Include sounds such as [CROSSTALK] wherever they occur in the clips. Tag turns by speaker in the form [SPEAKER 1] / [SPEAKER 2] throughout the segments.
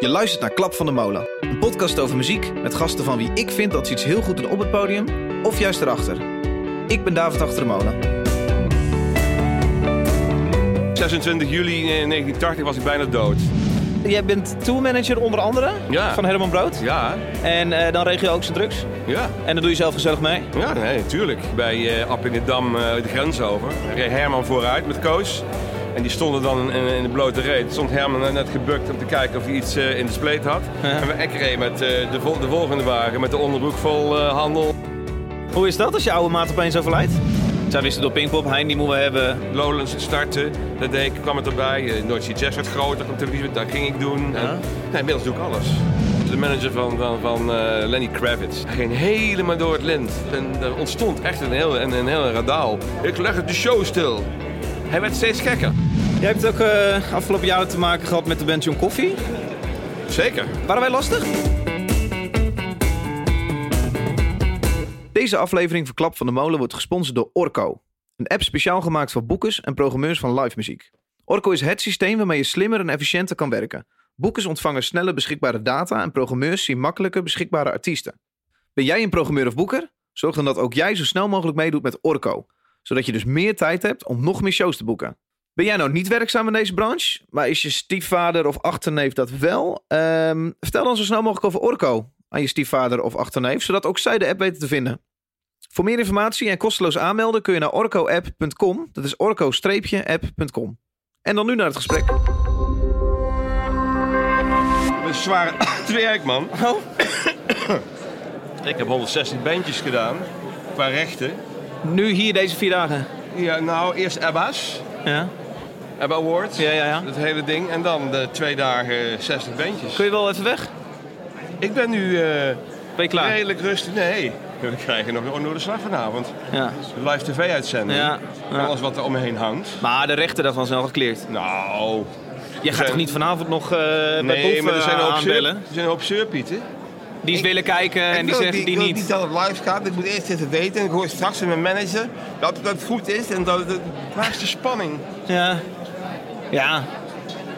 [SPEAKER 1] Je luistert naar Klap van de Molen. Een podcast over muziek met gasten van wie ik vind dat ze iets heel goed doen op het podium of juist erachter. Ik ben David Achter de Molen.
[SPEAKER 2] 26 juli eh, 1980 was ik bijna dood.
[SPEAKER 1] Jij bent tourmanager onder andere
[SPEAKER 2] Ja.
[SPEAKER 1] van Herman Brood.
[SPEAKER 2] Ja,
[SPEAKER 1] En eh, dan regel je ook zijn drugs.
[SPEAKER 2] ja,
[SPEAKER 1] En dan doe je zelf gezellig mee.
[SPEAKER 2] ja, nee, natuurlijk. Bij eh App in de Dam eh, de grens over. Daar reed Herman vooruit met Koos. En die stonden dan in, in de blote reet. Stond Herman net gebukt om te kijken of hij iets eh, in de spleet had. En we- ik reed met eh, de, vol- de volgende wagen, met de onderbroek vol eh, handel.
[SPEAKER 1] Hoe is dat als je oude maat opeens overlijdt? Zij wisten door Pinkpop, Hein die moeten we hebben.
[SPEAKER 2] Lowlands startte, dat deed ik, kwam het erbij. Eh, North Sea Jazz werd groter, kwam televisie, dat ging ik doen. En, nee, inmiddels doe ik alles. De manager van, van, van eh, Lenny Kravitz Hij ging helemaal door het lint. En er ontstond echt een heel, een, een heel radaal. Ik legde de show stil. Hij werd steeds gekker.
[SPEAKER 1] Jij hebt ook eh, afgelopen jaren te maken gehad met de band John Coffee.
[SPEAKER 2] Zeker.
[SPEAKER 1] Waren wij lastig? Deze aflevering van Klap van de Molen wordt gesponsord door Orco. Een app speciaal gemaakt voor boekers en programmeurs van live muziek. Orco is het systeem waarmee je slimmer en efficiënter kan werken. Boekers ontvangen sneller beschikbare data en programmeurs zien makkelijker beschikbare artiesten. Ben jij een programmeur of boeker? Zorg dan dat ook jij zo snel mogelijk meedoet met Orco, zodat je dus meer tijd hebt om nog meer shows te boeken. Ben jij nou niet werkzaam in deze branche, maar is je stiefvader of achterneef dat wel? Ehm, vertel dan zo snel mogelijk over Orco aan je stiefvader of achterneef, zodat ook zij de app weten te vinden. Voor meer informatie en kosteloos aanmelden kun je naar orcoapp.com. Dat is orco-app.com. En dan nu naar het gesprek.
[SPEAKER 2] Dat is [COUGHS] zwaar het werk, man.
[SPEAKER 1] Oh.
[SPEAKER 2] ik heb 116 bandjes gedaan, qua rechten.
[SPEAKER 1] Nu hier deze vier dagen.
[SPEAKER 2] Ja, nou, eerst Abba's,
[SPEAKER 1] Ja,
[SPEAKER 2] Abba Awards.
[SPEAKER 1] ja, ja. ja.
[SPEAKER 2] Dat hele ding. En dan de twee dagen 60 bandjes.
[SPEAKER 1] Kun je wel even weg?
[SPEAKER 2] Ik ben nu eh,
[SPEAKER 1] Ben je klaar?
[SPEAKER 2] redelijk rustig. Nee, we krijgen nog een slag vanavond.
[SPEAKER 1] Ja.
[SPEAKER 2] Live tv-uitzending.
[SPEAKER 1] Ja,
[SPEAKER 2] En
[SPEAKER 1] ja.
[SPEAKER 2] alles wat er omheen hangt.
[SPEAKER 1] Maar de rechter daarvan is al gekleerd.
[SPEAKER 2] Nou,
[SPEAKER 1] Je gaat toch niet vanavond nog eh bij
[SPEAKER 2] nee,
[SPEAKER 1] Boef
[SPEAKER 2] maar er zijn
[SPEAKER 1] eh,
[SPEAKER 2] een hoop zeur-
[SPEAKER 1] aanbellen?
[SPEAKER 2] er zijn een hoop zeurpieten.
[SPEAKER 1] Die is willen kijken en die zeggen die
[SPEAKER 3] ik wil
[SPEAKER 1] niet.
[SPEAKER 3] dat het live gaat. Ik moet eerst even weten. Ik hoor straks van mijn manager dat het goed is. En dat het...
[SPEAKER 2] Waar is de spanning?
[SPEAKER 1] Ja. Ja.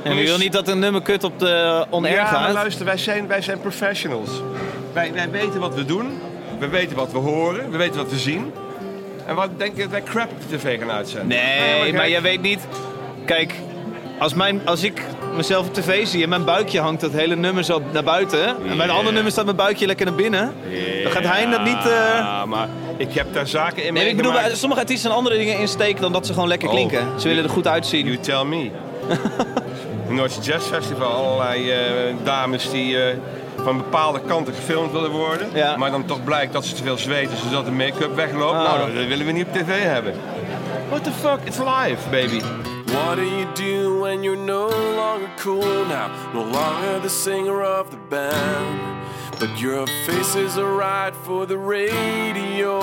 [SPEAKER 1] En je wil niet dat een nummer kut op de on-air
[SPEAKER 2] ja, maar
[SPEAKER 1] gaat.
[SPEAKER 2] luister, wij zijn, wij zijn professionals. Wij, wij weten wat we doen. We weten wat we horen. We weten wat we zien. En wat denk je dat wij crap op de tv gaan uitzenden?
[SPEAKER 1] nee, maar
[SPEAKER 2] kijk,
[SPEAKER 1] jij weet niet. Kijk, als, mijn, als ik mezelf op tv zie en mijn buikje hangt dat hele nummer zo naar buiten. En bij een ander nummer staat mijn buikje lekker naar binnen. Dan gaat hij dat niet. eh,
[SPEAKER 2] Ja, maar ik heb daar zaken in
[SPEAKER 1] Nee, ik bedoel,
[SPEAKER 2] meegemaakt.
[SPEAKER 1] bij- sommige artiesten zijn andere dingen insteken dan dat ze gewoon lekker
[SPEAKER 2] Oh.
[SPEAKER 1] klinken. Ze willen er goed uitzien.
[SPEAKER 2] You tell me.
[SPEAKER 1] [LAUGHS]
[SPEAKER 2] Noordse Jazz Festival, allerlei eh, dames die eh, van bepaalde kanten gefilmd willen worden.
[SPEAKER 1] Ja.
[SPEAKER 2] Maar dan toch blijkt dat ze te veel zweten, zodat de make-up wegloopt.
[SPEAKER 1] Ah.
[SPEAKER 2] Nou, dat eh, willen we niet op tv hebben. What the fuck, it's live, baby.
[SPEAKER 4] What do you do when you're no longer cool now? No longer the singer of the band. But your face is alright for the radio.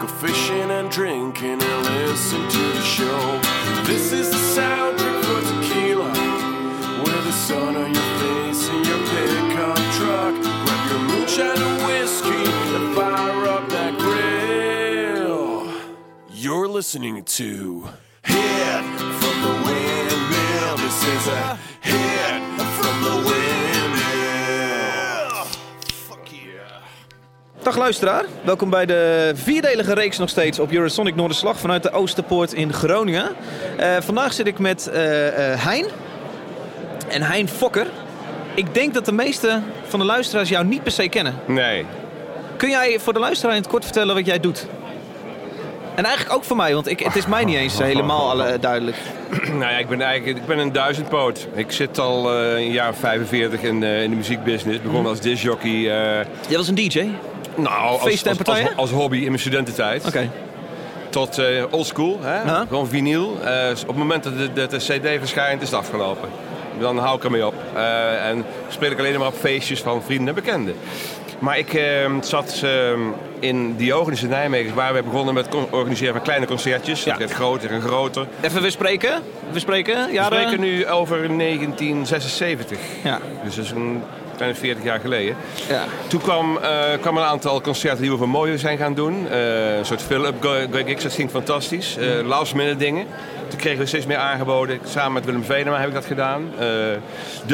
[SPEAKER 4] Go fishing and drinking and listen to the show. This is the soundtrack for tequila. With the sun on your face and your pickup truck. Grab your moonshine and whiskey and fire up that grill. You're listening to Hit from the Windmill. This is a hit from the windmill.
[SPEAKER 1] Dag luisteraar, welkom bij de vierdelige reeks nog steeds op Eurosonic Noorderslag vanuit de Oosterpoort in Groningen. Eh, vandaag zit ik met eh, eh, Hein en Hein Fokker. Ik denk dat de meeste van de luisteraars jou niet per se kennen.
[SPEAKER 2] Nee.
[SPEAKER 1] Kun jij voor de luisteraar in het kort vertellen wat jij doet? En eigenlijk ook voor mij, want ik, het is mij niet eens helemaal alle- eh, duidelijk.
[SPEAKER 2] [CLEARS THROAT] nou ja, ik ben eigenlijk ik ben een duizendpoot. Ik zit al eh, een jaar of 45 in, eh, in de muziekbusiness.
[SPEAKER 1] Hm.
[SPEAKER 2] Begon als discjockey. eh,
[SPEAKER 1] Jij was een DJ? Oké.
[SPEAKER 2] nou, als,
[SPEAKER 1] Feesten en
[SPEAKER 2] als, als,
[SPEAKER 1] partijen?
[SPEAKER 2] als hobby in mijn studententijd. Tot eh oldschool, hè?
[SPEAKER 1] Huh?
[SPEAKER 2] gewoon vinyl. Eh, op het moment dat de, dat de CD verschijnt, is het afgelopen. Dan hou ik ermee op. Eh, en speel ik alleen maar op feestjes van vrienden en bekenden. Maar ik eh, zat eh, in Diogenes in Nijmegen, waar we begonnen met het organiseren van kleine concertjes.
[SPEAKER 1] Ja.
[SPEAKER 2] Dat werd groter en groter.
[SPEAKER 1] Even weer spreken. We spreken.
[SPEAKER 2] We
[SPEAKER 1] Jaren?
[SPEAKER 2] spreken nu over 1976.
[SPEAKER 1] Ja.
[SPEAKER 2] Dus dat is een kleine 40 jaar geleden.
[SPEAKER 1] Ja.
[SPEAKER 2] Toen kwam, eh kwam een aantal concerten die we voor mooier zijn gaan doen. Eh, een soort fill-up go- go- gigs, dat ging fantastisch. Eh
[SPEAKER 1] Mm.
[SPEAKER 2] last minute dingen. Toen kregen we steeds meer aangeboden. Samen met Willem Venema heb ik dat gedaan. Eh,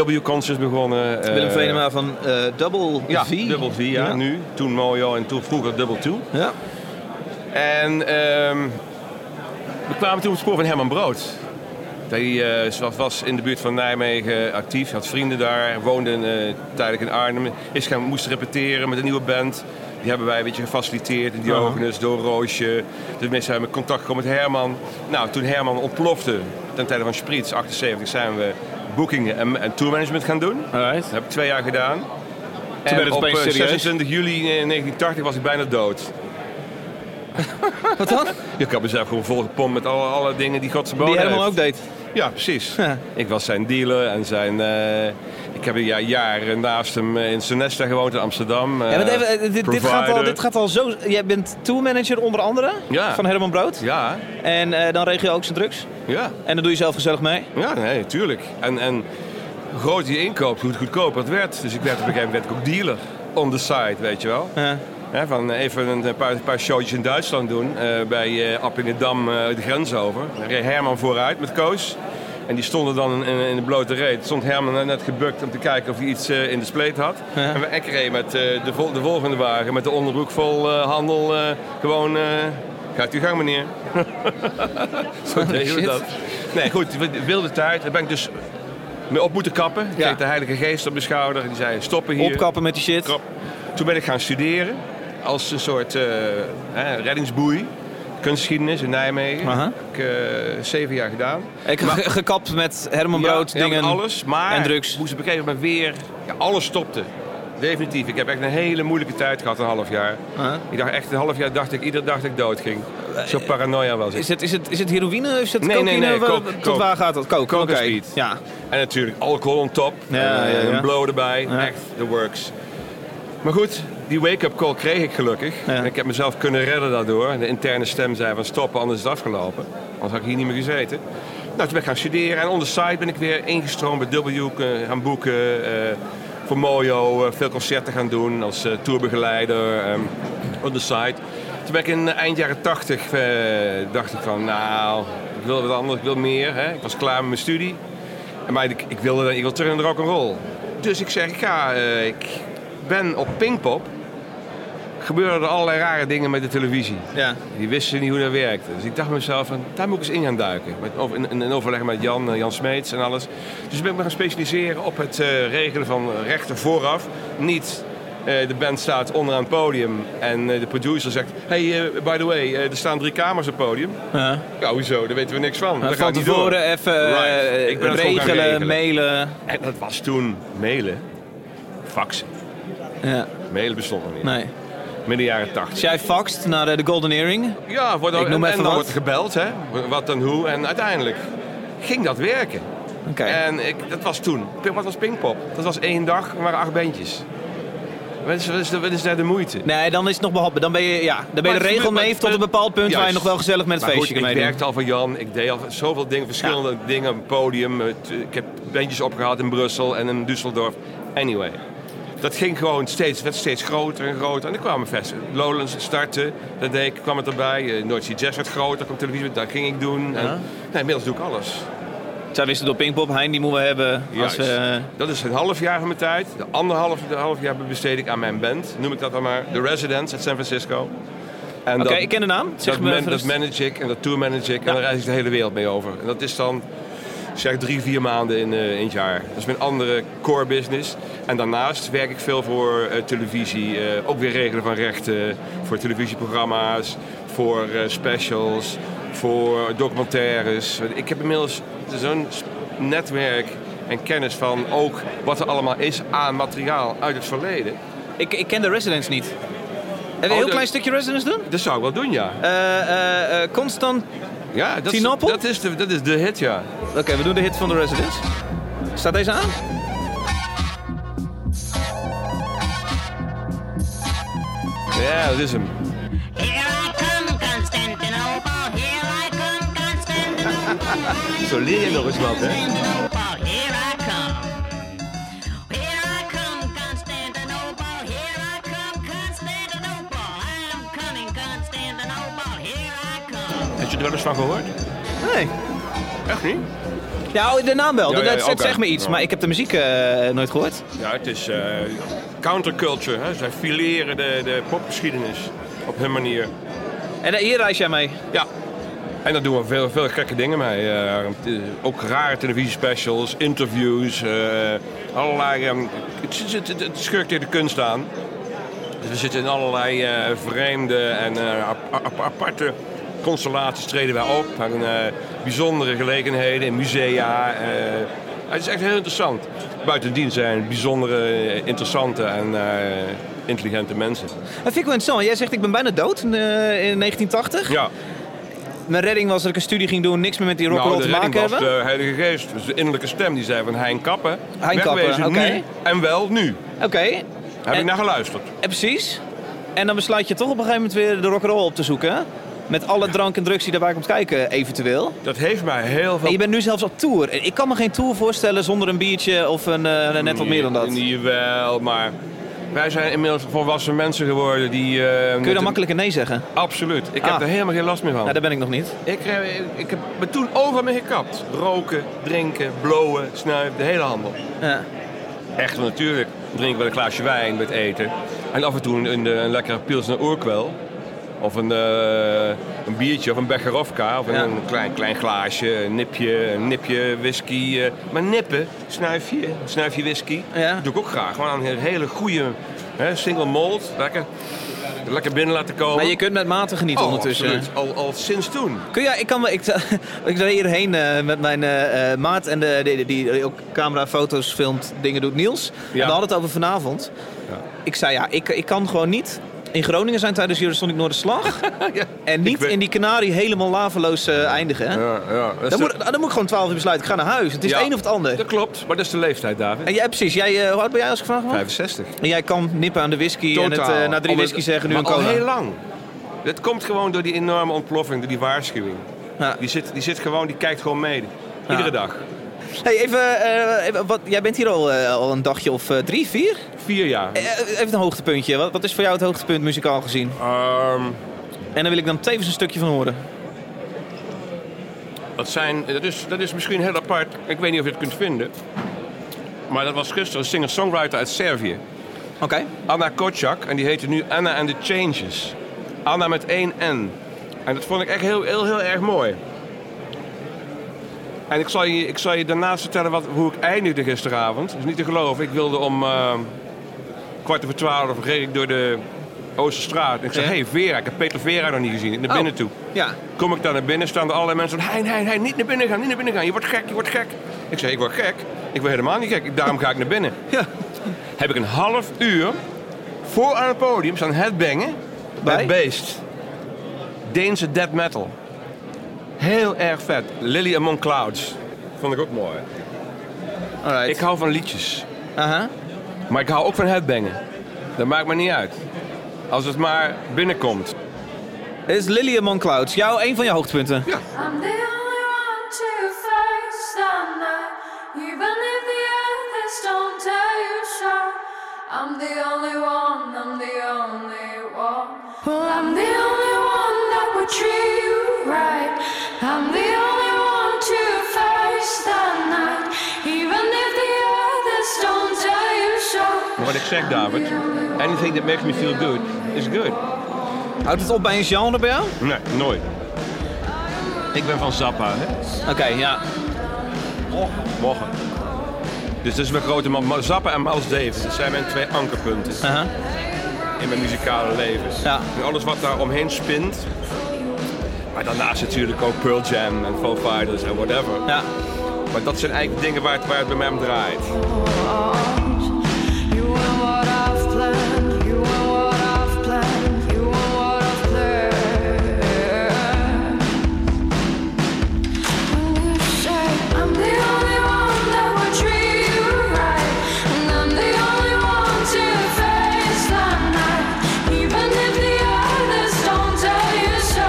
[SPEAKER 2] W-concerts begonnen. eh,
[SPEAKER 1] Willem Venema van eh, Double
[SPEAKER 2] Ja,
[SPEAKER 1] V.
[SPEAKER 2] Double V, ja, nu. Toen Mojo en toen vroeger Double Two.
[SPEAKER 1] Ja.
[SPEAKER 2] En ehm, we kwamen toen op het spoor van Herman Brood. Die eh, was- was in de buurt van Nijmegen actief, had vrienden daar, woonde eh, tijdelijk in Arnhem. Is gaan, moest repeteren met een nieuwe band. Die hebben wij een beetje gefaciliteerd. in Diogenes, Door Roosje. Dus mensen zijn we in contact gekomen met Herman. Nou, toen Herman ontplofte, ten tijde van Spritz, 78, zijn we boekingen en, en tourmanagement gaan doen.
[SPEAKER 5] Alright.
[SPEAKER 2] Dat heb ik twee jaar gedaan.
[SPEAKER 5] werd het
[SPEAKER 2] op
[SPEAKER 5] opeens
[SPEAKER 2] eh,
[SPEAKER 5] serieus.
[SPEAKER 2] 26 juli eh, 1980 was ik bijna dood.
[SPEAKER 1] Wat dan?
[SPEAKER 2] Je kan mezelf gewoon volgepompt met alle, alle dingen die God
[SPEAKER 1] Die
[SPEAKER 2] geboden
[SPEAKER 1] Herman
[SPEAKER 2] heeft.
[SPEAKER 1] ook deed.
[SPEAKER 2] Ja, precies.
[SPEAKER 1] Ja.
[SPEAKER 2] Ik was zijn dealer en zijn... eh, ik heb een jaar, jaren naast hem eh, in Sonesta gewoond in Amsterdam.
[SPEAKER 1] Ja,
[SPEAKER 2] eh,
[SPEAKER 1] want even, eh, dit- dit, gaat al,
[SPEAKER 2] provider.
[SPEAKER 1] dit gaat al zo... Jij bent tourmanager onder andere
[SPEAKER 2] Ja.
[SPEAKER 1] van Herman Brood.
[SPEAKER 2] Ja,
[SPEAKER 1] En eh, dan regel je ook zijn drugs.
[SPEAKER 2] ja.
[SPEAKER 1] En dan doe je zelf gezellig mee.
[SPEAKER 2] Ja, nee, tuurlijk. En, en hoe groot je inkoopt, hoe goedkoper het werd. Dus ik werd op een gegeven moment werd ik ook dealer. On the side, weet je wel.
[SPEAKER 1] Ja.
[SPEAKER 2] Hè, van even een een paar, een paar showtjes in Duitsland doen. eh, bij eh Appingedam eh, de grens over. Daar reed Herman vooruit met Koos. En die stonden dan in, in de blote reet. Stond Herman net gebukt om te kijken of hij iets eh, in de spleet had.
[SPEAKER 1] Ja.
[SPEAKER 2] En we- ik reed met eh, de, vol- de volgende wagen, met de onderbroek vol eh, handel. eh, gewoon, eh, gaat uw gang meneer. [LAUGHS] Zo deden we
[SPEAKER 1] Oh, shit.
[SPEAKER 2] dat. Nee, goed, wilde tijd. Daar ben ik dus mee op moeten kappen. Ik
[SPEAKER 1] Ja.
[SPEAKER 2] kreeg de heilige geest op mijn schouder. Die zei, stoppen hier.
[SPEAKER 1] Opkappen met die shit.
[SPEAKER 2] Krap. Toen ben ik gaan studeren als een soort eh, hè, reddingsboei. Kunstgeschiedenis in Nijmegen.
[SPEAKER 1] Aha.
[SPEAKER 2] Heb ik eh, zeven jaar gedaan.
[SPEAKER 1] Ik heb Eh, ge- gekapt met Herman
[SPEAKER 2] Ja,
[SPEAKER 1] Brood
[SPEAKER 2] ja, met
[SPEAKER 1] dingen.
[SPEAKER 2] alles, maar
[SPEAKER 1] en drugs.
[SPEAKER 2] moest op een gegeven moment weer... Ja, alles stopte. Definitief. Ik heb echt een hele moeilijke tijd gehad, een half jaar.
[SPEAKER 1] Aha. Eh,
[SPEAKER 2] Ik dacht echt een half jaar, dacht ik, iedere dag dat ik dood ging. Zo paranoia was ik.
[SPEAKER 1] Is het, is, het, is het heroïne of is het
[SPEAKER 2] Nee, nee,
[SPEAKER 1] cocaïne?
[SPEAKER 2] nee,
[SPEAKER 1] Waar-
[SPEAKER 2] coke,
[SPEAKER 1] Tot
[SPEAKER 2] coke.
[SPEAKER 1] waar gaat dat? Coke,
[SPEAKER 2] Coke
[SPEAKER 1] oké.
[SPEAKER 2] en speed.
[SPEAKER 1] Ja.
[SPEAKER 2] En natuurlijk alcohol on top.
[SPEAKER 1] Ja,
[SPEAKER 2] Eh,
[SPEAKER 1] ja, ja.
[SPEAKER 2] Een blow erbij.
[SPEAKER 1] Ja.
[SPEAKER 2] Echt, the works. Maar goed, die wake-up call kreeg ik gelukkig.
[SPEAKER 1] Ja.
[SPEAKER 2] En ik heb mezelf kunnen redden daardoor. De interne stem zei van stoppen, anders is het afgelopen. Anders had ik hier niet meer gezeten. Nou, toen ben ik gaan studeren. En on the side ben ik weer ingestroomd bij W. eh, Gaan boeken. eh, voor Mojo eh, veel concerten gaan doen. Als eh, tourbegeleider. ehm, on the side. Toen ben ik in eind jaren tachtig... eh, dacht ik van, nou, ik wil wat anders. Ik wil meer. Hè? Ik was klaar met mijn studie. Maar ik, ik wilde ik wil terug naar de rock'n'roll. Dus ik zeg, ik ga, eh, ik ben op Pinkpop. Gebeuren er allerlei rare dingen met de televisie.
[SPEAKER 1] Ja.
[SPEAKER 2] Die wisten niet hoe dat werkte. Dus ik dacht mezelf, van, daar moet ik eens in gaan duiken. Met, over- in, in- in overleg met Jan, eh, Jan Smeets en alles. Dus ben ik me gaan specialiseren op het eh, regelen van rechten vooraf. Niet eh, de band staat onderaan het podium en eh, de producer zegt... Hey, eh, by the way, eh, er staan drie kamers op het podium.
[SPEAKER 1] Ja.
[SPEAKER 2] Ja, hoezo? Daar weten we niks van. Dat
[SPEAKER 1] van
[SPEAKER 2] gaat niet door.
[SPEAKER 1] tevoren even eh,
[SPEAKER 2] Right. Ik ben het gewoon gaan
[SPEAKER 1] regelen,
[SPEAKER 2] regelen.
[SPEAKER 1] mailen.
[SPEAKER 2] En dat was toen mailen, faxen.
[SPEAKER 1] Ja,
[SPEAKER 2] Mailen bestond nog niet.
[SPEAKER 1] nee.
[SPEAKER 2] Midden jaren
[SPEAKER 1] Dus
[SPEAKER 2] tachtig.
[SPEAKER 1] jij faxt naar eh, de Golden Earring.
[SPEAKER 2] Ja, wordt dan,
[SPEAKER 1] Ik noem
[SPEAKER 2] en,
[SPEAKER 1] even
[SPEAKER 2] en dan
[SPEAKER 1] wat.
[SPEAKER 2] wordt er gebeld, hè? Wat dan hoe. En uiteindelijk ging dat werken.
[SPEAKER 1] Oké.
[SPEAKER 2] En ik, dat was toen. Wat was Pinkpop? Dat was één dag, er waren acht bandjes. Wat is, wat is, wat is daar de moeite?
[SPEAKER 1] Nee, dan is het nog behapbaar. Dan ben je, ja,
[SPEAKER 2] Maar
[SPEAKER 1] dan ben je de
[SPEAKER 2] het
[SPEAKER 1] regel
[SPEAKER 2] gebeurt-
[SPEAKER 1] mee
[SPEAKER 2] maar-
[SPEAKER 1] tot een bepaald punt waar je
[SPEAKER 2] Juist.
[SPEAKER 1] nog wel gezellig met het
[SPEAKER 2] Maar goed,
[SPEAKER 1] feestje kan
[SPEAKER 2] ik
[SPEAKER 1] meedoen.
[SPEAKER 2] werkte al van Jan. Ik deed al zoveel dingen, verschillende dingen. Een podium. het- Ik heb bandjes opgehaald in Brussel en in Düsseldorf. Anyway. Dat ging gewoon steeds, werd steeds groter en groter. En er kwamen festen. Lowlands startte, dat deed ik, kwam het erbij. Eh, North Sea Jazz werd groter, kwam televisie, daar ging ik doen. En, nee, inmiddels doe ik alles.
[SPEAKER 1] Zij wisten door Pinkpop, Hein, die moeten we hebben. Als
[SPEAKER 2] Juist.
[SPEAKER 1] we, eh,
[SPEAKER 2] Dat is een half jaar van mijn tijd. De anderhalf de half jaar besteed ik aan mijn band. Noem ik dat dan maar. The Residents uit San Francisco. En
[SPEAKER 1] Oké,
[SPEAKER 2] dat-
[SPEAKER 1] ik ken de naam. Zeg
[SPEAKER 2] dat,
[SPEAKER 1] me
[SPEAKER 2] man,
[SPEAKER 1] even
[SPEAKER 2] dat
[SPEAKER 1] rustig.
[SPEAKER 2] manage ik en dat tour manage ik en daar reis ik de hele wereld mee over. En dat is dan zeg drie, vier maanden in, eh, in het jaar. Dat is mijn andere core business. En daarnaast werk ik veel voor eh, televisie. eh, ook weer regelen van rechten voor televisieprogramma's, voor eh, specials, voor documentaires. Ik heb inmiddels zo'n s- netwerk en kennis van ook wat er allemaal is aan materiaal uit het verleden.
[SPEAKER 1] ik, ik ken de Residents niet. Hebben we een
[SPEAKER 2] Oh,
[SPEAKER 1] heel
[SPEAKER 2] de-
[SPEAKER 1] klein stukje Residents doen?
[SPEAKER 2] Dat zou ik wel doen, ja.
[SPEAKER 1] Eh, eh, eh, Constant...
[SPEAKER 2] ja dat, is,
[SPEAKER 1] Tinappel?
[SPEAKER 2] dat, is de, dat is de hit, ja.
[SPEAKER 1] Oké, we doen de hit van de Residents. Staat deze aan?
[SPEAKER 2] Ja, dat is hem.
[SPEAKER 6] Here I come, Constantinople. Here I come, Constantinople.
[SPEAKER 2] Zo leer je nog eens wat, hè?
[SPEAKER 6] Constantinople, here I come. Here I come,
[SPEAKER 2] er wel eens van gehoord?
[SPEAKER 1] Nee.
[SPEAKER 2] Echt niet?
[SPEAKER 1] Ja, oh, de naam wel.
[SPEAKER 2] Ja,
[SPEAKER 1] dat
[SPEAKER 2] ja,
[SPEAKER 1] dat- dat
[SPEAKER 2] oké.
[SPEAKER 1] zegt me iets.
[SPEAKER 2] Ja.
[SPEAKER 1] Maar ik heb de muziek eh, nooit gehoord.
[SPEAKER 2] Ja, het is eh, counterculture. Hè? Zij fileren de, de popgeschiedenis op hun manier.
[SPEAKER 1] En eh, hier reis jij mee.
[SPEAKER 2] Ja. En daar doen we veel, veel gekke dingen mee. Eh, t- eh, ook rare televisiespecials, interviews, eh, allerlei... ehm, het, het, het, het schurkt tegen de kunst aan. Dus we zitten in allerlei eh, vreemde en eh, ap- ap- aparte constellaties treden wij op. En eh, bijzondere gelegenheden in musea. eh. het is echt heel interessant. Buitendien zijn het bijzondere, interessante en eh, intelligente mensen.
[SPEAKER 1] Dat vind ik wel interessant. want Jij zegt ik ben bijna dood in, eh, in 1980.
[SPEAKER 2] Ja.
[SPEAKER 1] Mijn redding was dat ik een studie ging doen. Niks meer met die rock'n'roll
[SPEAKER 2] nou, de
[SPEAKER 1] te maken
[SPEAKER 2] redding
[SPEAKER 1] hebben.
[SPEAKER 2] was de Heilige Geest, dus de innerlijke stem die zei van Hein Kappen.
[SPEAKER 1] Hein Kappen,
[SPEAKER 2] wegwezen
[SPEAKER 1] oké.
[SPEAKER 2] nu en wel nu.
[SPEAKER 1] Oké.
[SPEAKER 2] Heb
[SPEAKER 1] En-
[SPEAKER 2] ik naar geluisterd.
[SPEAKER 1] Eh, precies. En dan besluit je toch op een gegeven moment weer de rock'n'roll op te zoeken. hè? Met alle drank en drugs die daarbij komt kijken, eventueel.
[SPEAKER 2] Dat heeft mij heel veel...
[SPEAKER 1] En je bent nu zelfs op tour. En Ik kan me geen tour voorstellen zonder een biertje of een, eh, net wat meer dan dat. Kun
[SPEAKER 2] Jawel, maar wij zijn inmiddels volwassen mensen geworden die... Kun
[SPEAKER 1] je dan makkelijk een nee zeggen?
[SPEAKER 2] Absoluut. Ik
[SPEAKER 1] Ah.
[SPEAKER 2] heb er helemaal geen last meer van.
[SPEAKER 1] Nou, daar ben ik nog niet.
[SPEAKER 2] ik, eh, ik heb me toen over me gekapt. Roken, drinken, blowen, snuiven, de hele handel.
[SPEAKER 1] Ja.
[SPEAKER 2] Echt wel natuurlijk. Drink wel een glaasje wijn bij het eten. En af en toe een, een, een lekkere pilsner oerkwel. Of een, eh, een biertje of een Becherovka. Of een,
[SPEAKER 1] Ja.
[SPEAKER 2] een klein, klein glaasje, een nipje, een nipje whisky. eh. Maar nippen, snuifje, een snuifje whisky.
[SPEAKER 1] Ja.
[SPEAKER 2] Dat doe ik ook graag. Maar een hele goede hè, single malt. Lekker, lekker binnen laten komen.
[SPEAKER 1] Maar je kunt met mate genieten
[SPEAKER 2] Oh,
[SPEAKER 1] ondertussen.
[SPEAKER 2] absoluut. Al, al sinds toen.
[SPEAKER 1] Kun jij, ik kan me, ik, [LAUGHS] ik reed hierheen eh, met mijn eh, eh, maat en de, die, die, die ook camera, foto's filmt, dingen doet, Niels. En we hadden het over vanavond. Ik zei ja, ik, ik kan gewoon niet in Groningen zijn tijdens Eurosonic
[SPEAKER 2] [LAUGHS]
[SPEAKER 1] Noorderslag.
[SPEAKER 2] Ja.
[SPEAKER 1] en niet
[SPEAKER 2] Ik ben-
[SPEAKER 1] in die Canarie helemaal laveloos eh, eindigen. hè?
[SPEAKER 2] Ja, ja. Dat, is
[SPEAKER 1] Dan,
[SPEAKER 2] de-
[SPEAKER 1] moet, dan moet ik gewoon 12 uur besluiten, ik ga naar huis. Het is
[SPEAKER 2] Ja.
[SPEAKER 1] het een of het ander.
[SPEAKER 2] dat klopt, maar dat is de leeftijd, David.
[SPEAKER 1] En jij, precies, jij, eh, hoe oud ben jij als ik gevraagd word?
[SPEAKER 2] 65.
[SPEAKER 1] En jij kan nippen aan de whisky en het,
[SPEAKER 2] Totaal.
[SPEAKER 1] eh, na drie
[SPEAKER 2] Omdat-
[SPEAKER 1] whisky zeggen nu
[SPEAKER 2] maar
[SPEAKER 1] een cola.
[SPEAKER 2] al heel lang. Dat komt gewoon door die enorme ontploffing, door die waarschuwing.
[SPEAKER 1] Ja.
[SPEAKER 2] Die, zit, die zit gewoon, die kijkt gewoon mee. Iedere
[SPEAKER 1] Ja.
[SPEAKER 2] dag.
[SPEAKER 1] Hey, even, eh, even wat, jij bent hier al, eh, al een dagje of eh, drie, vier?
[SPEAKER 2] Vier jaar.
[SPEAKER 1] Eh, Even een hoogtepuntje. Wat, wat is voor jou het hoogtepunt muzikaal gezien?
[SPEAKER 2] Ehm,
[SPEAKER 1] En daar wil ik dan tevens een stukje van horen.
[SPEAKER 2] dat, zijn, dat, is, dat is misschien heel apart. Ik weet niet of je het kunt vinden. Maar dat was gisteren een singer-songwriter uit Servië.
[SPEAKER 1] Oké.
[SPEAKER 2] Anna Kotjak. En die heette nu Anna and the Changes. Anna met één N. En dat vond ik echt heel, heel, heel erg mooi. En ik zal je, ik zal je daarnaast vertellen wat, hoe ik eindigde gisteravond. Dat is niet te geloven. Ik wilde om eh, kwart over twaalf reed ik door de Oosterstraat. En ik zei,
[SPEAKER 1] Ja.
[SPEAKER 2] hé hey, Vera, ik heb Peter Vera nog niet gezien. Naar binnen toe.
[SPEAKER 1] Ja.
[SPEAKER 2] Kom ik daar naar binnen, staan er allerlei mensen van... Hein, hein, hein, niet naar binnen gaan, niet naar binnen gaan. Je wordt gek, je wordt gek. Ik zei, ik word gek. Ik ben helemaal niet gek, daarom ga ik naar binnen.
[SPEAKER 1] [LAUGHS] Ja.
[SPEAKER 2] Heb ik een half uur voor aan het podium staan headbangen bij
[SPEAKER 1] Bij?
[SPEAKER 2] Beest. Deense death metal. Heel erg vet. Lily Among Clouds. Vond ik ook mooi.
[SPEAKER 1] Alright.
[SPEAKER 2] Ik hou van liedjes.
[SPEAKER 1] Aha.
[SPEAKER 2] Maar ik hou ook van headbangen. Dat maakt me niet uit. Als het maar binnenkomt.
[SPEAKER 1] Dit is Lily Among Clouds. Jou, een van je hoogtepunten.
[SPEAKER 5] I'm the only one to face the night, even if the earth is stone too sharp. I'm the only one, I'm the only one. I'm the only one that would treat you right. I'm the only one to face the night, even if the earth is stone too sharp.
[SPEAKER 2] Maar Wat ik zeg, David. Anything that makes me feel good is good.
[SPEAKER 1] Houdt het op bij een genre bij jou?
[SPEAKER 2] Nee, nooit. Ik ben van Zappa, hè?
[SPEAKER 1] Oké, ja.
[SPEAKER 2] Morgen. Dus dat is mijn grote man. Maar Zappa en Miles Davis, dat zijn mijn twee ankerpunten
[SPEAKER 1] Aha.
[SPEAKER 2] in mijn muzikale leven.
[SPEAKER 1] Ja.
[SPEAKER 2] En alles wat daar omheen spint. Maar daarnaast natuurlijk ook Pearl Jam en Foo Fighters en whatever.
[SPEAKER 1] Ja.
[SPEAKER 2] Maar dat zijn eigenlijk dingen waar het, waar het bij mij om draait.
[SPEAKER 5] You want what I've planned, you want what I've planned, you want what I've planned. When you say I'm the only one that will treat you right, and I'm the only one to face the night, even if the others don't tell you so.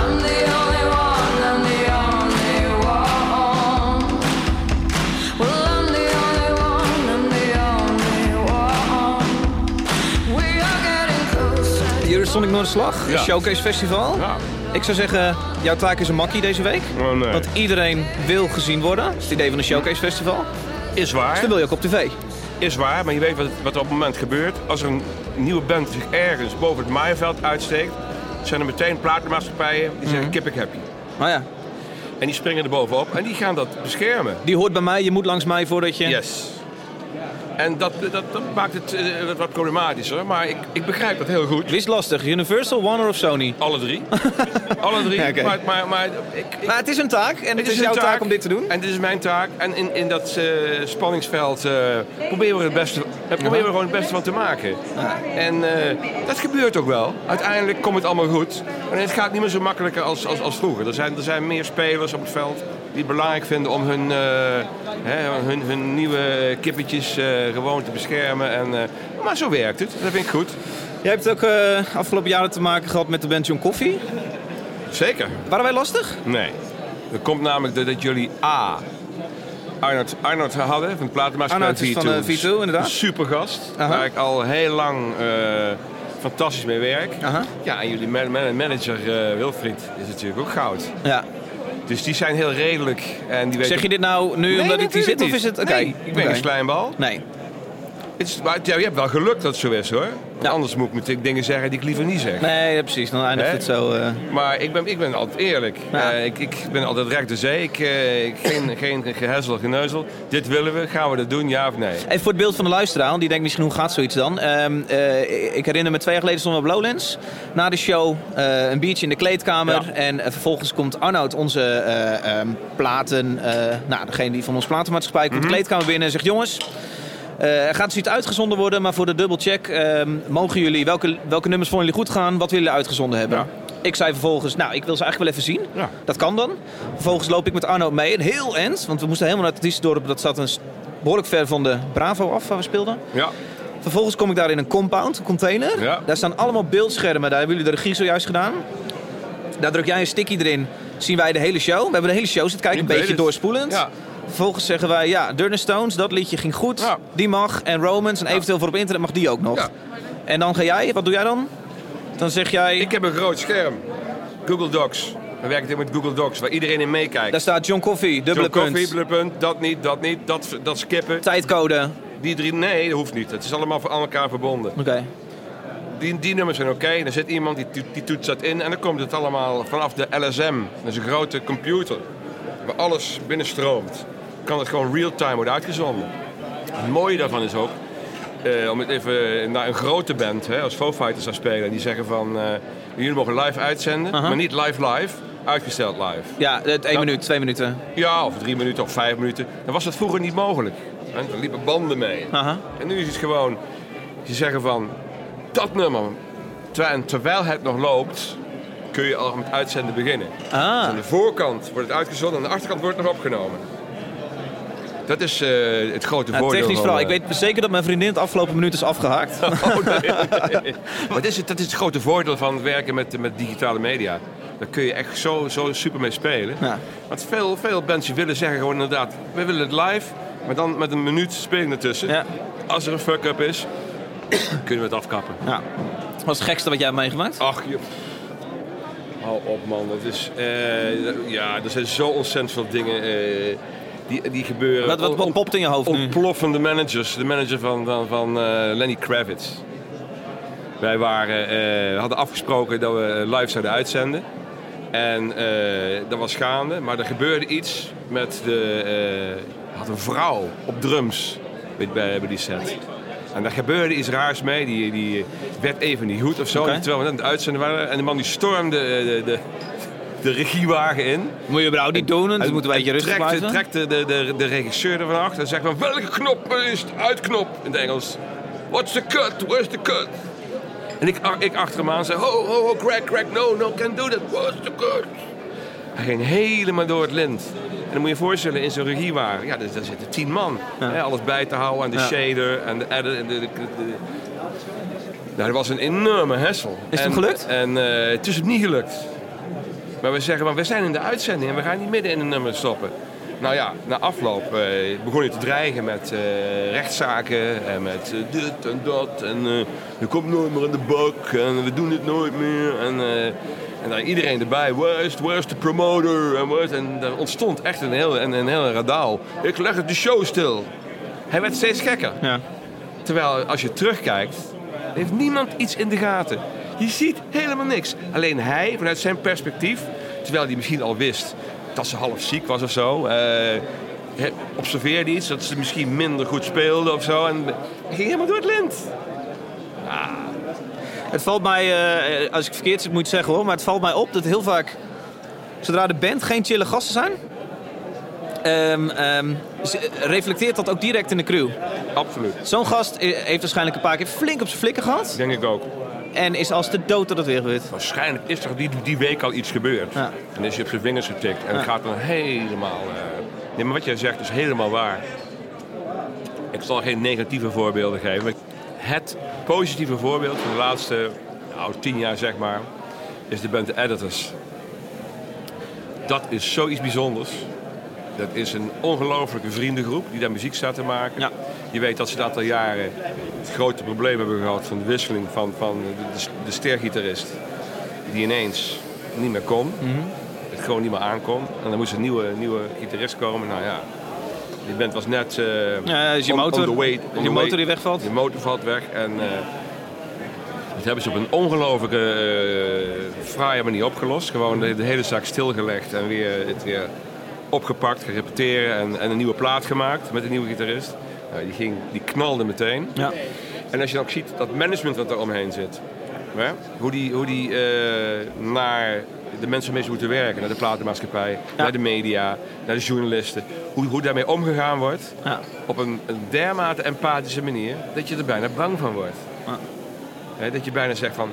[SPEAKER 5] I'm the only one, I'm the only one. Well, I'm the only one, I'm the only one. We are getting closer.
[SPEAKER 1] Eurosonic Noorderslag,
[SPEAKER 2] Ja.
[SPEAKER 1] Showcase Festival.
[SPEAKER 2] Ja.
[SPEAKER 1] Ik zou zeggen, jouw taak is een makkie deze week.
[SPEAKER 2] Oh, nee.
[SPEAKER 1] Want iedereen wil gezien worden. Dat is het idee van een showcase festival. Dus
[SPEAKER 2] Is waar.
[SPEAKER 1] dan wil je ook op tv.
[SPEAKER 2] Is waar, maar je weet wat, wat er op het moment gebeurt. Als er een nieuwe band zich ergens boven het maaienveld uitsteekt, zijn er meteen platenmaatschappijen die
[SPEAKER 1] Mhm.
[SPEAKER 2] zeggen kip ik heb je.
[SPEAKER 1] Maar ja,
[SPEAKER 2] En die springen er bovenop en die gaan dat beschermen.
[SPEAKER 1] die hoort bij mij. Je moet langs mij voordat je...
[SPEAKER 2] Yes. En dat, dat, dat maakt het eh, wat problematischer, maar ik, ik begrijp dat heel goed.
[SPEAKER 1] Wist lastig. Universal, Warner of Sony.
[SPEAKER 2] Alle
[SPEAKER 1] [LAUGHS]
[SPEAKER 2] drie. Alle drie.
[SPEAKER 1] Ja, oké.
[SPEAKER 2] Maar, maar, maar ik, ik-
[SPEAKER 1] Maar het is een taak. En het, is,
[SPEAKER 2] een
[SPEAKER 1] jouw taak. om dit te doen.
[SPEAKER 2] En dit is mijn taak. En in, in dat eh, spanningsveld eh, proberen, we het beste, eh, proberen we gewoon het beste van te maken. En eh, dat gebeurt ook wel. Uiteindelijk komt het allemaal goed. En het gaat niet meer zo makkelijk als, als, als vroeger. Er zijn, er zijn meer spelers op het veld die het belangrijk vinden om hun, eh, hè, hun, hun nieuwe kippetjes eh, gewoon te beschermen. En, eh, maar zo werkt het. Dat vind ik goed.
[SPEAKER 1] Jij hebt ook eh, afgelopen jaren te maken gehad met de band John Coffee.
[SPEAKER 2] Zeker.
[SPEAKER 1] Waren wij lastig?
[SPEAKER 2] Nee. Dat komt namelijk doordat jullie A. Arnold, Arnold hadden van de
[SPEAKER 1] Arnold
[SPEAKER 2] platenmaatschappij
[SPEAKER 1] is van, eh, V2, inderdaad.
[SPEAKER 2] Een supergast,
[SPEAKER 1] Aha.
[SPEAKER 2] waar ik al heel lang eh, fantastisch mee werk.
[SPEAKER 1] Aha.
[SPEAKER 2] Ja, en jullie man- man- manager eh, Wilfried is natuurlijk ook goud.
[SPEAKER 1] Ja.
[SPEAKER 2] Dus die zijn heel redelijk en die weten...
[SPEAKER 1] Zeg je dit nou nu
[SPEAKER 2] Nee,
[SPEAKER 1] omdat ik hier
[SPEAKER 2] natuurlijk
[SPEAKER 1] zit? Of
[SPEAKER 2] niet.
[SPEAKER 1] is het... Oké.
[SPEAKER 2] Nee, ik ben
[SPEAKER 1] oké.
[SPEAKER 2] een slijmbal.
[SPEAKER 1] Nee.
[SPEAKER 2] Het is, maar, ja, je hebt wel geluk dat het zo is hoor. Want
[SPEAKER 1] Ja.
[SPEAKER 2] Anders moet ik natuurlijk dingen zeggen die ik liever niet zeg.
[SPEAKER 1] Nee, ja, precies. Dan eindigt
[SPEAKER 2] Hè?
[SPEAKER 1] het zo... eh,
[SPEAKER 2] Maar ik ben, ik ben altijd eerlijk.
[SPEAKER 1] Ja.
[SPEAKER 2] Eh, ik, ik ben altijd recht de zee. Ik, eh, ik-
[SPEAKER 1] [LAUGHS]
[SPEAKER 2] geen, geen gehezzel, geneuzel. Dit willen we. Gaan we dat doen, ja of nee?
[SPEAKER 1] Even voor het beeld van de luisteraar, want die denkt misschien hoe gaat zoiets dan. Ehm, eh, ik herinner me twee jaar geleden stonden we op Lowlands. Na de show eh, een biertje in de kleedkamer.
[SPEAKER 2] Ja.
[SPEAKER 1] En eh, vervolgens komt Arnoud, onze eh, ehm, platen, eh, nou degene die van ons platenmaatschappij komt
[SPEAKER 2] Mhm.
[SPEAKER 1] de kleedkamer binnen en zegt jongens... eh, er gaat zoiets uitgezonden worden, maar voor de dubbelcheck ehm, mogen jullie, welke, welke nummers vonden jullie goed gaan, wat willen jullie uitgezonden hebben?
[SPEAKER 2] Ja.
[SPEAKER 1] Ik zei vervolgens, nou ik wil ze eigenlijk wel even zien.
[SPEAKER 2] Ja.
[SPEAKER 1] Dat kan dan. Vervolgens loop ik met Arno mee, een heel end, want we moesten helemaal naar het Diesdorp. Dat zat een s- behoorlijk ver van de Bravo af waar we speelden.
[SPEAKER 2] Ja.
[SPEAKER 1] Vervolgens kom ik daar in een compound, een container.
[SPEAKER 2] Ja.
[SPEAKER 1] Daar staan allemaal beeldschermen, daar hebben jullie de regie zojuist gedaan. Daar druk jij een sticky erin, zien wij de hele show. We hebben de hele show zitten kijken,
[SPEAKER 2] Ik
[SPEAKER 1] een
[SPEAKER 2] weet
[SPEAKER 1] beetje
[SPEAKER 2] het.
[SPEAKER 1] doorspoelend.
[SPEAKER 2] Ja.
[SPEAKER 1] Vervolgens zeggen wij, ja, Durner Stones, dat liedje ging goed,
[SPEAKER 2] Ja.
[SPEAKER 1] die mag. En Romans, en eventueel voor op internet mag die ook nog.
[SPEAKER 2] Ja.
[SPEAKER 1] En dan ga jij, wat doe jij dan? Dan zeg jij,
[SPEAKER 2] Ik heb een groot scherm. Google Docs. We werken dit met Google Docs, waar iedereen in meekijkt.
[SPEAKER 1] daar staat John Coffee, dubbele
[SPEAKER 2] Zo'n koffie,
[SPEAKER 1] punt.
[SPEAKER 2] dubbele punt. Dat niet, dat niet. Dat, dat skippen.
[SPEAKER 1] Tijdcode.
[SPEAKER 2] Die drie, nee, dat hoeft niet. Het is allemaal voor- aan elkaar verbonden.
[SPEAKER 1] Oké.
[SPEAKER 2] Die, die nummers zijn oké. Dan zit iemand die, to- die toetst dat in en dan komt het allemaal vanaf de LSM. Dat is een grote computer waar alles binnenstroomt. Kan het gewoon real-time worden uitgezonden. Het mooie daarvan is ook, eh, om het even naar een grote band hè, als Foo Fighters gaan spelen. Die zeggen van, eh, jullie mogen live uitzenden,
[SPEAKER 1] Aha.
[SPEAKER 2] maar niet live live, uitgesteld live.
[SPEAKER 1] Ja, het één
[SPEAKER 2] Nou.
[SPEAKER 1] minuut, twee minuten.
[SPEAKER 2] Ja, of drie minuten of vijf minuten. Dan was dat vroeger niet mogelijk. En dan liepen banden mee.
[SPEAKER 1] Aha.
[SPEAKER 2] En nu is het gewoon, ze zeggen van, dat nummer, terwijl, terwijl het nog loopt, kun je al met uitzenden beginnen. Dus
[SPEAKER 1] Ah,
[SPEAKER 2] aan de voorkant wordt het uitgezonden, aan de achterkant wordt het nog opgenomen. Dat is eh, het grote
[SPEAKER 1] nou,
[SPEAKER 2] voordeel.
[SPEAKER 1] technisch
[SPEAKER 2] van,
[SPEAKER 1] verhaal. Ik
[SPEAKER 2] eh,
[SPEAKER 1] weet zeker dat mijn vriendin het afgelopen minuut is afgehaakt.
[SPEAKER 2] Oh, nee.
[SPEAKER 1] [LAUGHS]
[SPEAKER 2] maar dat is, het, dat is het grote voordeel van werken met, met digitale media. Daar kun je echt zo, zo super mee spelen.
[SPEAKER 1] Ja.
[SPEAKER 2] Want veel, veel mensen willen zeggen gewoon inderdaad, we willen het live, maar dan met een minuut speling ertussen.
[SPEAKER 1] Ja.
[SPEAKER 2] Als er een fuck-up is, [COUGHS] kunnen we het afkappen.
[SPEAKER 1] Ja. Wat is het gekste wat jij hebt meegemaakt?
[SPEAKER 2] Ach, je... Hou op man, dat is... eh, ja, er zijn zo ontzettend veel dingen eh, die, die gebeuren.
[SPEAKER 1] Wat- wat- wat
[SPEAKER 2] On-
[SPEAKER 1] popt in je hoofd
[SPEAKER 2] Oh.
[SPEAKER 1] nu?
[SPEAKER 2] Ontploffende managers. De manager van, van, van eh, Lenny Kravitz. Wij waren, eh, we hadden afgesproken dat we eh, live zouden uitzenden. En eh, dat was gaande, maar er gebeurde iets met de... eh, had een vrouw op drums bij, bij, bij die set. En daar gebeurde iets raars mee. Die, die werd even niet goed of zo.
[SPEAKER 1] Oké.
[SPEAKER 2] Terwijl we net aan het uitzenden waren. En de man die stormde eh, de, de, de regiewagen in.
[SPEAKER 1] Moet je überhaupt niet doen, dus
[SPEAKER 2] Hij
[SPEAKER 1] moeten we een beetje rustig
[SPEAKER 2] trekt,
[SPEAKER 1] blijven.
[SPEAKER 2] trekt de, de, de, de regisseur ervan achter en zegt van welke knop is het uitknop in het Engels. What's the cut? Where's the cut? En ik, a- ik achter hem aan zei, ho, ho, ho, crack, crack, no, no, can't do that. What's the cut? Hij ging helemaal door het lint. En dan moet je je voorstellen, in zo'n regiewagen, ja, daar, daar zitten tien man. Hè, alles bij te houden en de
[SPEAKER 1] Ja.
[SPEAKER 2] shader en de edit en de... de- de- nou, dat was een enorme hessel.
[SPEAKER 1] het
[SPEAKER 2] en,
[SPEAKER 1] hem gelukt?
[SPEAKER 2] En eh, het is hem niet gelukt. Maar we zeggen, maar we zijn in de uitzending en we gaan niet midden in een nummer stoppen. Nou ja, na afloop eh, begon hij te dreigen met eh, rechtszaken en met eh, dit en dat. En eh je komt nooit meer in de bak en we doen dit nooit meer. En, eh, en daar iedereen erbij, where's, where's the promoter? En, where's, en er ontstond echt een heel, een, een heel radaal. Ik leg het de show stil. Hij werd steeds gekker.
[SPEAKER 1] Ja.
[SPEAKER 2] Terwijl als je terugkijkt, heeft niemand iets in de gaten. Je ziet helemaal niks. Alleen hij, vanuit zijn perspectief, terwijl hij misschien al wist dat ze half ziek was of zo, eh, he- observeerde iets dat ze misschien minder goed speelde of zo en ging helemaal door het lint.
[SPEAKER 1] Het valt mij, eh, als ik verkeerd zit, moet ik het zeggen hoor, maar het valt mij op dat heel vaak, zodra de band geen chille gasten zijn, ehm, ehm, ze- reflecteert dat ook direct in de crew.
[SPEAKER 2] Absoluut.
[SPEAKER 1] Zo'n gast eh, heeft waarschijnlijk een paar keer flink op zijn flikken gehad
[SPEAKER 2] Denk ik ook.
[SPEAKER 1] en is als de dood door het weer gebeurd.
[SPEAKER 2] Waarschijnlijk is er die, die week al iets gebeurd.
[SPEAKER 1] Ja.
[SPEAKER 2] En is je op zijn vingers getikt. En het gaat dan helemaal... eh, Nee, maar wat jij zegt is helemaal waar. Ik zal geen negatieve voorbeelden geven. maar Het positieve voorbeeld van de laatste nou, tien jaar, zeg maar... is de band The Editors. Dat is zoiets bijzonders. Dat is een ongelofelijke vriendengroep die daar muziek staat te maken.
[SPEAKER 1] Ja.
[SPEAKER 2] Je weet dat ze een aantal jaren het grote probleem hebben gehad van de wisseling van, van de, de, de stergitarist die ineens niet meer kon.
[SPEAKER 1] Mhm.
[SPEAKER 2] Het gewoon niet meer aankwam. En dan moest een nieuwe, nieuwe gitarist komen. Nou ja, die band was net... eh,
[SPEAKER 1] Ja, is je
[SPEAKER 2] on- on
[SPEAKER 1] motor-
[SPEAKER 2] the way- on
[SPEAKER 1] je
[SPEAKER 2] the
[SPEAKER 1] motor
[SPEAKER 2] way-
[SPEAKER 1] die wegvalt?
[SPEAKER 2] Je motor valt weg. En eh, dat hebben ze op een ongelofelijke eh, fraaie manier opgelost. Gewoon de, de hele zaak stilgelegd en weer, het weer opgepakt, gerepeteren en, en een nieuwe plaat gemaakt met een nieuwe gitarist. Nou, die, ging, die knalde meteen.
[SPEAKER 1] Ja.
[SPEAKER 2] En als je dan ook ziet dat management wat er omheen zit. Hè? Hoe die, hoe die eh, naar de mensen mee moeten werken. Naar de platenmaatschappij, naar de media, naar de journalisten. Hoe, hoe daarmee omgegaan wordt.
[SPEAKER 1] Ja.
[SPEAKER 2] Op een, een dermate empathische manier dat je er bijna bang van wordt.
[SPEAKER 1] Ja.
[SPEAKER 2] Hè, dat je bijna zegt van...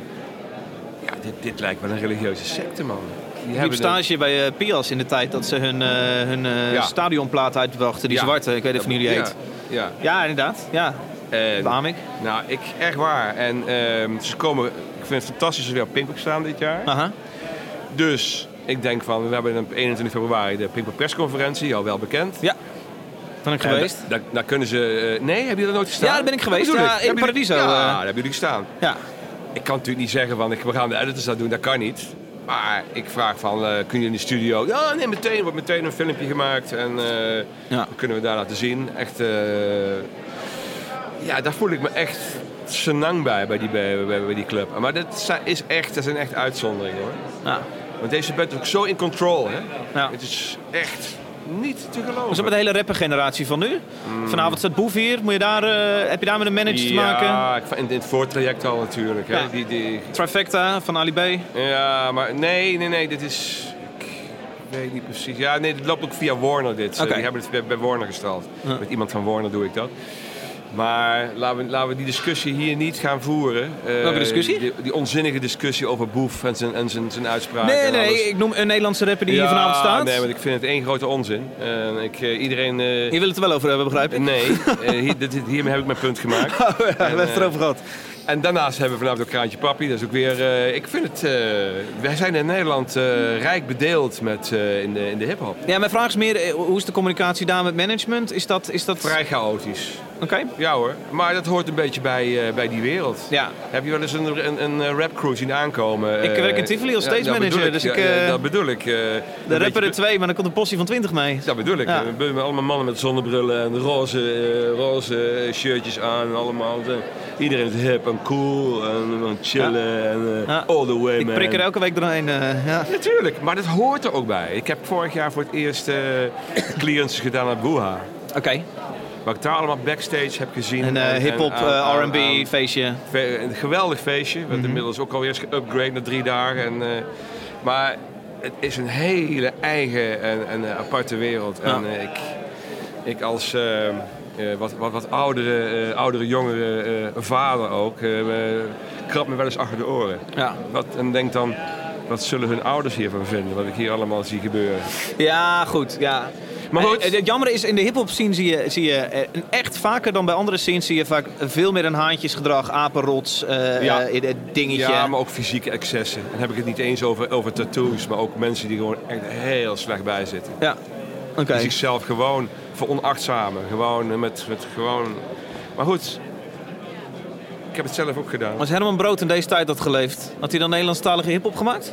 [SPEAKER 2] Ja, dit, dit lijkt wel een religieuze secte, man. Die
[SPEAKER 1] Ik liep
[SPEAKER 2] hebben een-
[SPEAKER 1] stage bij eh, Pias in de tijd dat ze hun, eh, hun eh,
[SPEAKER 2] Ja.
[SPEAKER 1] stadionplaat uitbrachten, die
[SPEAKER 2] Ja.
[SPEAKER 1] zwarte, ik weet even niet hoe die
[SPEAKER 2] Ja,
[SPEAKER 1] heet.
[SPEAKER 2] Ja,
[SPEAKER 1] Ja, inderdaad. Ja,
[SPEAKER 2] En-
[SPEAKER 1] beaam ik.
[SPEAKER 2] nou, ik, echt waar. En ehm, ze komen, ik vind het fantastisch dat ze weer op Pinkpop staan dit jaar.
[SPEAKER 1] Aha.
[SPEAKER 2] Dus ik denk van, we hebben op 21 februari de Pinkpop persconferentie, al wel bekend.
[SPEAKER 1] Ja. Ben ik
[SPEAKER 2] En
[SPEAKER 1] geweest.
[SPEAKER 2] da- da- daar kunnen ze... eh, nee, hebben jullie er nooit gestaan?
[SPEAKER 1] Ja, daar ben ik geweest.
[SPEAKER 2] Dat bedoel
[SPEAKER 1] Ja,
[SPEAKER 2] ik.
[SPEAKER 1] in
[SPEAKER 2] Hebben jullie-
[SPEAKER 1] Paradiso,
[SPEAKER 2] Ja,
[SPEAKER 1] eh.
[SPEAKER 2] daar hebben jullie gestaan.
[SPEAKER 1] Ja.
[SPEAKER 2] Ik kan natuurlijk niet zeggen van, ik- we gaan de editors dat doen, dat kan niet. Maar ik vraag van, eh, kunnen jullie in de studio? Ja, nee, meteen. Er wordt meteen een filmpje gemaakt en eh,
[SPEAKER 1] Ja.
[SPEAKER 2] dat kunnen we daar laten zien. Echt, eh, ja, daar voel ik me echt senang bij, bij die, bij, bij, bij die club. Maar dat, zijn- is echt, dat zijn echt uitzonderingen hoor.
[SPEAKER 1] ja.
[SPEAKER 2] Want deze band is ook zo in control, hè?
[SPEAKER 1] Ja.
[SPEAKER 2] Het is echt niet te
[SPEAKER 1] Hoe is
[SPEAKER 2] geloven.
[SPEAKER 1] dat met de hele rappergeneratie van nu? Vanavond staat Boef hier. Moet je daar, eh, heb je daar met een manager te maken?
[SPEAKER 2] Mm. Ja, ik- in, in het voortraject al natuurlijk. Hè?
[SPEAKER 1] Ja.
[SPEAKER 2] Die, die,
[SPEAKER 1] Trifecta van Ali B.
[SPEAKER 2] Ja, maar nee, nee, nee, dit is. Ik weet niet precies. Ja, nee, dit loopt ook via Warner. Dit. Ze
[SPEAKER 1] Oké.
[SPEAKER 2] Die hebben het bij, bij Warner gestald. Met iemand van Warner doe ik dat. Maar laten we, laten we die discussie hier niet gaan voeren. Eh,
[SPEAKER 1] Welke discussie?
[SPEAKER 2] Die, die onzinnige discussie over Boef en zijn, en zijn, zijn uitspraak.
[SPEAKER 1] Nee,
[SPEAKER 2] en alles.
[SPEAKER 1] nee, ik noem een Nederlandse rapper die
[SPEAKER 2] Ja,
[SPEAKER 1] hier vanavond staat.
[SPEAKER 2] Nee, want ik vind het één grote onzin. En ik, eh, iedereen. eh,
[SPEAKER 1] Je wil het er wel over hebben, begrijp
[SPEAKER 2] [LAUGHS]
[SPEAKER 1] ik?
[SPEAKER 2] nee, eh, hier, dit, dit- hiermee heb ik mijn punt gemaakt.
[SPEAKER 1] [LAUGHS] Oh, ja, we hebben het
[SPEAKER 2] eh,
[SPEAKER 1] erover gehad.
[SPEAKER 2] En daarnaast hebben we vanavond ook Kraantje Papi. Dat is ook weer... eh, ik vind het... eh, wij zijn in Nederland eh, rijk bedeeld met, eh, in de, in de hiphop.
[SPEAKER 1] Ja, mijn vraag is meer, eh, hoe is de communicatie daar met management? Is dat... Is dat...
[SPEAKER 2] Vrij chaotisch.
[SPEAKER 1] Oké.
[SPEAKER 2] Ja hoor. Maar dat hoort een beetje bij, eh, bij die wereld.
[SPEAKER 1] Ja.
[SPEAKER 2] Heb je wel eens een, een, een eh, rapcrew zien aankomen?
[SPEAKER 1] Ik
[SPEAKER 2] eh,
[SPEAKER 1] werk in Tivoli als
[SPEAKER 2] ja,
[SPEAKER 1] stage
[SPEAKER 2] dat bedoel
[SPEAKER 1] manager,
[SPEAKER 2] ik.
[SPEAKER 1] dus
[SPEAKER 2] Ja,
[SPEAKER 1] ik,
[SPEAKER 2] ja,
[SPEAKER 1] eh,
[SPEAKER 2] dat bedoel ik. eh, een
[SPEAKER 1] De
[SPEAKER 2] beetje
[SPEAKER 1] rapper er
[SPEAKER 2] be-
[SPEAKER 1] twee, maar dan komt een postie van 20 mee.
[SPEAKER 2] Dat bedoel ik.
[SPEAKER 1] Ja.
[SPEAKER 2] Eh, be- Allemaal mannen met zonnebrillen en roze, eh, roze shirtjes aan. en Allemaal. eh, iedereen is hip en cool en, eh, chillen. En, eh,
[SPEAKER 1] Ja.
[SPEAKER 2] All the way,
[SPEAKER 1] Ik
[SPEAKER 2] man.
[SPEAKER 1] prik er elke week doorheen. eh, ja.
[SPEAKER 2] Natuurlijk, maar dat hoort er ook bij. Ik heb vorig jaar voor het eerst eh clearance gedaan aan Boeha.
[SPEAKER 1] Oké,
[SPEAKER 2] Wat ik daar allemaal backstage heb gezien.
[SPEAKER 1] een
[SPEAKER 2] en-
[SPEAKER 1] eh
[SPEAKER 2] en
[SPEAKER 1] hip-hop
[SPEAKER 2] aan-
[SPEAKER 1] eh,
[SPEAKER 2] aan-
[SPEAKER 1] RB Mhm.
[SPEAKER 2] aan-
[SPEAKER 1] feestje.
[SPEAKER 2] fe- Een geweldig feestje. We hebben inmiddels ook alweer eens geüpgrade na drie dagen. En, eh, maar het is een hele eigen en, en eh, aparte wereld. En
[SPEAKER 1] Ja.
[SPEAKER 2] eh, ik, ik als eh, eh, wat, wat, wat oudere, eh, oudere jongere eh, vader ook, eh, eh, krap me wel eens achter de oren.
[SPEAKER 1] Ja.
[SPEAKER 2] Wat, en denk dan, wat zullen hun ouders hiervan vinden? Wat ik hier allemaal zie gebeuren.
[SPEAKER 1] Ja, goed. Ja.
[SPEAKER 2] Maar goed.
[SPEAKER 1] Eh, eh, Het jammer is, in de hip-hop scene zie je, zie je eh, een- echt vaker dan bij andere scenes zie je vaak veel meer een haantjesgedrag, apenrots, eh
[SPEAKER 2] Ja.
[SPEAKER 1] eh, eh, dingetje.
[SPEAKER 2] Ja, maar ook fysieke excessen. En dan heb ik het niet eens over, over tattoos, maar ook mensen die gewoon echt heel slecht bij zitten.
[SPEAKER 1] Ja. Oké. Oké.
[SPEAKER 2] Die zichzelf gewoon veronachtzamen. Gewoon eh, met, met gewoon... Maar goed, ik heb het zelf ook gedaan.
[SPEAKER 1] Als Herman Brood in deze tijd had geleefd, had hij dan Nederlandstalige hip-hop gemaakt?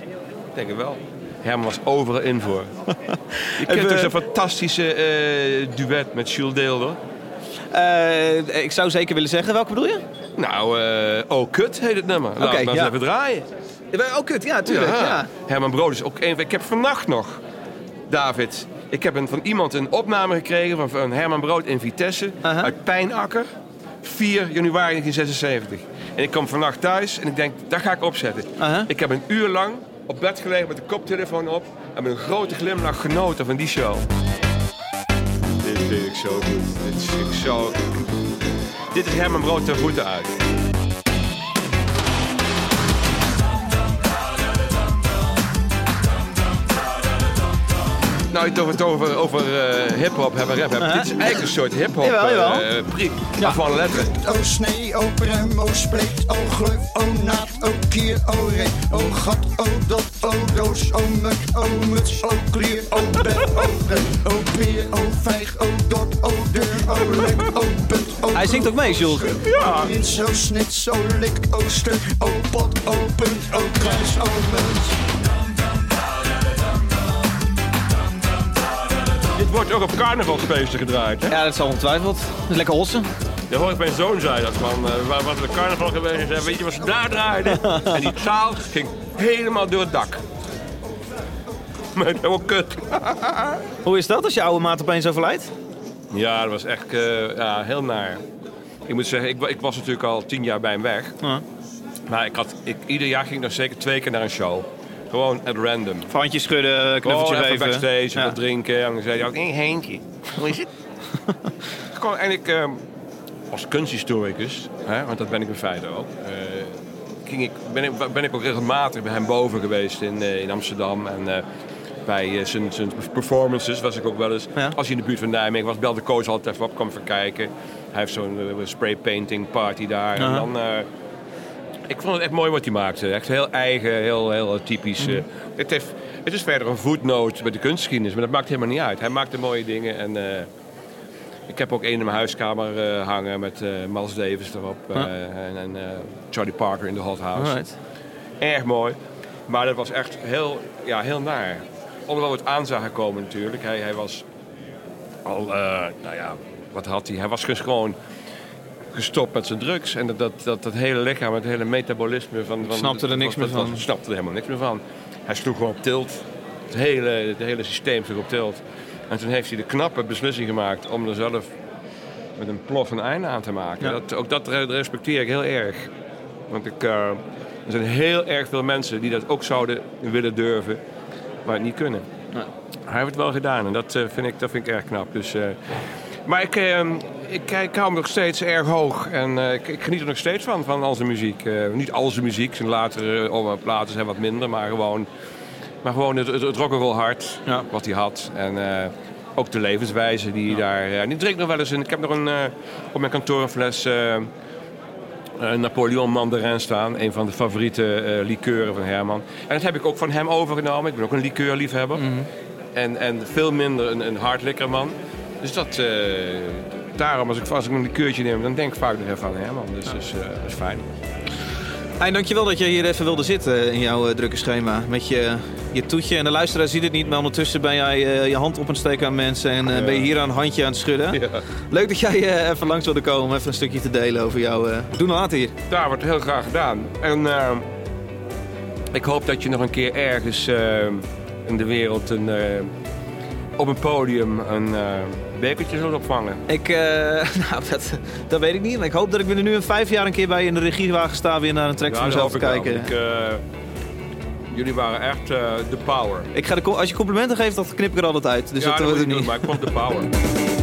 [SPEAKER 2] Ik denk het wel. Herman was overal in
[SPEAKER 1] [LAUGHS]
[SPEAKER 2] voor. Je
[SPEAKER 1] Even-
[SPEAKER 2] kent ook zo'n fantastische eh, duet met Jules Deelder.
[SPEAKER 1] Eh, ik zou zeker willen zeggen, welke bedoel je?
[SPEAKER 2] Nou, eh Oh Kut heet het nummer. Laat
[SPEAKER 1] Oké,
[SPEAKER 2] het maar eens
[SPEAKER 1] ja.
[SPEAKER 2] even draaien.
[SPEAKER 1] Oh, kut, ja, tuurlijk. Ja.
[SPEAKER 2] Herman Brood is ook een. Ik heb vannacht nog, David. Ik heb een, van iemand een opname gekregen van, van Herman Brood in Vitesse.
[SPEAKER 1] Aha.
[SPEAKER 2] Uit Pijnakker. 4 januari 1976. En ik kwam vannacht thuis en ik denk, daar ga ik opzetten.
[SPEAKER 1] Aha.
[SPEAKER 2] Ik heb een uur lang op bed gelegen met de koptelefoon op. En met een grote glimlach genoten van die show. Dit vind ik zo goed. Dit vind ik zo... Dit is Herman Brood ten voeten uit. Nou, je het over, het over, over eh, hip-hop hebben, rap hebben. Dit is eigenlijk een soort hip-hop.
[SPEAKER 1] Jawel, jawel.
[SPEAKER 2] eh, prik van letteren.
[SPEAKER 7] Oh snee, oh pruim, oh spleet, oh gleuf, oh naad, oh kier, oh reet, oh gat, oh dat, oh doos, oh muk, oh muts, oh klier, oh bed, oh breed, oh peer, oh vijg, oh dot, oh deur, oh lek, oh put, oh
[SPEAKER 1] Hij zingt ook mee, Jules.
[SPEAKER 7] ja. Prins, oh snits, oh lik, oh stuk, oh pot, oh punt, oh kruis, oh munt.
[SPEAKER 2] Dit wordt ook op carnavalsfeesten gedraaid. Hè?
[SPEAKER 1] Ja, dat zal ongetwijfeld. Dat is lekker hossen.
[SPEAKER 2] Daar hoor ik mijn zoon zei dat van. eh, waar, wat de carnaval geweest is. hè, Weet je wat ze daar
[SPEAKER 1] [LAUGHS]
[SPEAKER 2] draaiden? en die zaal ging helemaal door het dak. Met helemaal kut.
[SPEAKER 1] Hoe is dat als je oude maat opeens overlijdt?
[SPEAKER 2] Ja, dat was echt eh, ja, heel naar. Ik moet zeggen, ik, wa- ik was natuurlijk al tien jaar bij hem weg.
[SPEAKER 1] Ja.
[SPEAKER 2] Maar ik had, ik, ieder jaar ging ik nog zeker twee keer naar een show. Gewoon at random.
[SPEAKER 1] Handjes schudden, knuffeltje
[SPEAKER 2] Gewoon Oh, even
[SPEAKER 1] geven.
[SPEAKER 2] backstage,
[SPEAKER 1] Ja.
[SPEAKER 2] wat drinken. En dan zei hij ook, hey, Heentje, hoe
[SPEAKER 1] [LAUGHS]
[SPEAKER 2] is het? Gewoon, en ik, ehm, als kunsthistoricus, hè, want dat ben ik in feite ook... eh, ging ik, ben, ik, ben ik ook regelmatig bij hem boven geweest in, eh, in Amsterdam. En eh, bij eh, zijn, zijn performances was ik ook wel eens...
[SPEAKER 1] Ja.
[SPEAKER 2] Als hij in de buurt van Nijmegen was, belde coach altijd even op, kwam even kijken. Hij heeft zo'n eh, spray painting party daar. En
[SPEAKER 1] Aha.
[SPEAKER 2] dan... eh, ik vond het echt mooi wat hij maakte. Echt heel eigen, heel, heel typisch. eh. het, heeft, het is verder een voetnoot bij de kunstgeschiedenis, maar dat maakt helemaal niet uit. Hij maakte mooie dingen en eh, ik heb ook één in mijn huiskamer eh, hangen met eh Miles Davis erop eh, en, en eh, Charlie Parker in de Hot House.
[SPEAKER 1] Alright.
[SPEAKER 2] Erg mooi, maar dat was echt heel, ja, heel naar. Alhoewel we het aan zagen komen natuurlijk. Hij, hij was al, eh, nou ja, wat had hij? Hij was dus gewoon gestopt met zijn drugs. En dat, dat, dat, dat hele lichaam, het hele metabolisme van... van
[SPEAKER 1] Snapte er niks
[SPEAKER 2] dat-
[SPEAKER 1] meer
[SPEAKER 2] dat-
[SPEAKER 1] van.
[SPEAKER 2] dat snapte er helemaal niks meer van. Hij sloeg gewoon op tilt. Het hele, het hele systeem sloeg op tilt. En toen heeft hij de knappe beslissing gemaakt om er zelf met een plof een einde aan te maken.
[SPEAKER 1] Ja.
[SPEAKER 2] Dat, ook dat re- respecteer ik heel erg. Want ik, eh, er zijn heel erg veel mensen die dat ook zouden willen durven, maar het niet kunnen. Hij heeft het wel gedaan en dat, eh, vind, ik, dat vind ik erg knap. Dus, eh, maar ik, eh, ik, kijk- ik hou hem nog steeds erg hoog en eh, ik, ik geniet er nog steeds van, van al zijn muziek. Eh, niet al zijn muziek, zijn latere eh, platen zijn wat minder, maar gewoon, maar gewoon het, het, het rock'n'roll hart
[SPEAKER 1] Ja.
[SPEAKER 2] wat hij had. En eh, ook de levenswijze die hij daar... eh, en ik drink nog wel eens, een, ik heb nog een, eh, op mijn kantoor een fles... eh, eh, Napoleon Mandarin staan. Een van de favoriete eh likeuren van Herman. En dat heb ik ook van hem overgenomen. Ik ben ook een likeurliefhebber. en, en veel minder een, een hardlikkerman. Dus dat... eh, daarom, als ik, als ik een likeurtje neem, dan denk ik vaak nog even aan Herman. Dus dat is, eh, dat is fijn.
[SPEAKER 1] Hey, dankjewel dat je hier even wilde zitten in jouw eh, drukke schema. Met je, je toetje. En de luisteraar ziet het niet, maar ondertussen ben jij eh, je hand op een steek aan mensen. En eh, ben je hier aan een handje aan het schudden. Leuk dat jij eh, even langs wilde komen om even een stukje te delen over jouw eh doen later hier.
[SPEAKER 2] Daar wordt heel graag gedaan. En eh, ik hoop dat je nog een keer ergens eh, in de wereld een, eh, op een podium een eh bekertje zult opvangen.
[SPEAKER 1] Ik, eh, [LAUGHS] nou, dat, dat weet ik niet. Maar ik hoop dat ik binnen nu een vijf jaar een keer bij je in de regiewagen sta. Weer naar een track
[SPEAKER 2] Ja,
[SPEAKER 1] van
[SPEAKER 2] dat
[SPEAKER 1] mezelf te
[SPEAKER 2] hoop ik wel.
[SPEAKER 1] kijken.
[SPEAKER 2] Ik, eh, jullie waren echt eh, de power.
[SPEAKER 1] Ik ga de, co- als je complimenten geeft, dan knip ik er altijd uit. Dus
[SPEAKER 2] ja,
[SPEAKER 1] dat,
[SPEAKER 2] moet
[SPEAKER 1] wordt
[SPEAKER 2] ik
[SPEAKER 1] het
[SPEAKER 2] doen,
[SPEAKER 1] niet. [LAUGHS]
[SPEAKER 2] maar ik vond de power.